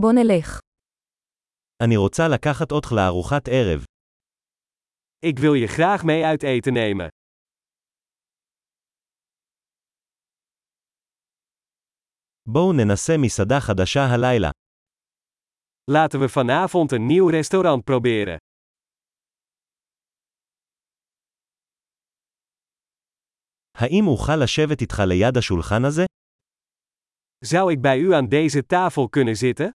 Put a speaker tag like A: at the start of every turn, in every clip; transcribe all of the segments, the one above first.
A: בוא נלך.
B: אני רוצה לקחת אותך לארוחת ערב.
C: Ik wil je graag mee uit eten nemen.
B: בואו ננסה מסעדה חדשה הלילה.
C: Laten we vanavond een nieuw restaurant proberen.
B: האם אוכל לשבת איתך ליד השולחן הזה?
C: Zou ik bij u aan deze tafel kunnen zitten?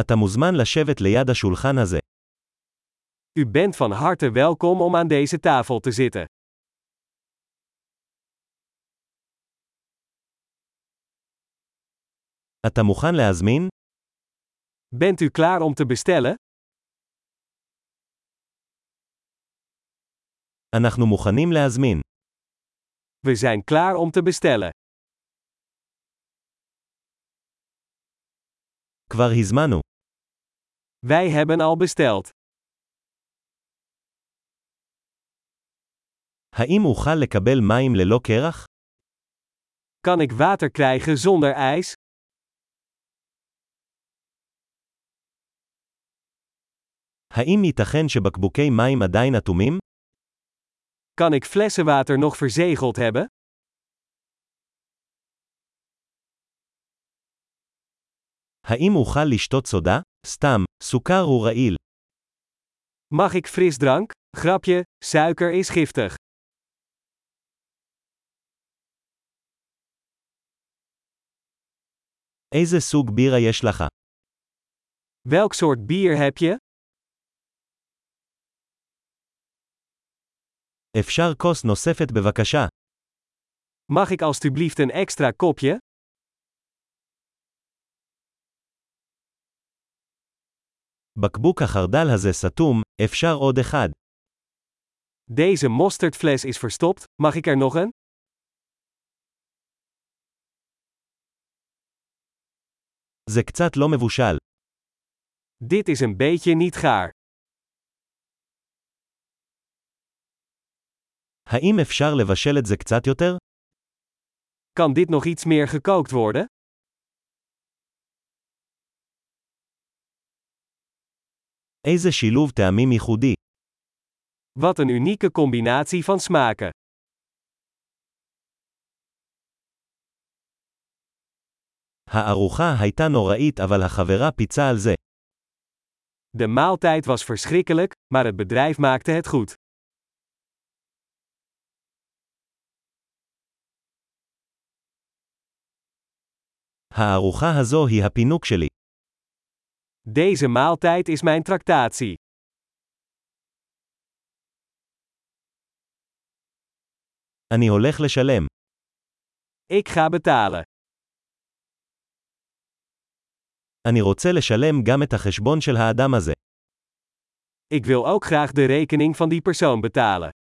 B: אתה מוזמן לשבת ליד השולחן הזה.
C: U bent van harte welkom om aan deze tafel te zitten.
B: אתה מוכן להזמין?
C: Bent u klaar om te bestellen?
B: אנחנו מוכנים להזמין.
C: We zijn klaar om te bestellen.
B: כבר הזמנו.
C: Wij hebben al besteld.
B: האם אוכל לקבל מים ללא קרח?
C: Kan ik water krijgen zonder ijs?
B: האם ייתכן שבקבוקי מים עדיין אטומים?
C: Kan ik flessen water nog verzegeld hebben?
B: האם אוכל לשתות סודה? סתם, סוכר הוא רעיל.
C: Mag ik frisdrank? Grapje, suiker is giftig.
B: איזה סוג בירה יש לך?
C: Welk soort bier heb je?
B: אפשר כוס נוספת בבקשה.
C: Mag ik alstublieft een extra kopje?
B: בקבוק החרדל הזה סתום, אפשר עוד אחד.
C: Deze mosterdfles is verstopt, mag ik er nog een?
B: זה קצת לא מבושל.
C: Dit is een beetje niet gaar.
B: האם אפשר לבשל את זה קצת יותר?
C: Kan dit nog iets meer gekookt worden?
B: איזה שילוב טעמים ייחודי.
C: Wat een unieke combinatie van smaken.
B: הארוחה הייתה נוראית אבל החברה פיצה על זה.
C: De maaltijd was verschrikkelijk, maar het bedrijf maakte het goed.
B: הארוחה הזו היא הפינוק שלי.
C: Deze maaltijd is mijn tractatie.
B: אני הולך לשלם.
C: Ik ga betalen.
B: אני רוצה לשלם גם את החשבון של האדם הזה.
C: Ik wil ook graag de rekening van die persoon betalen.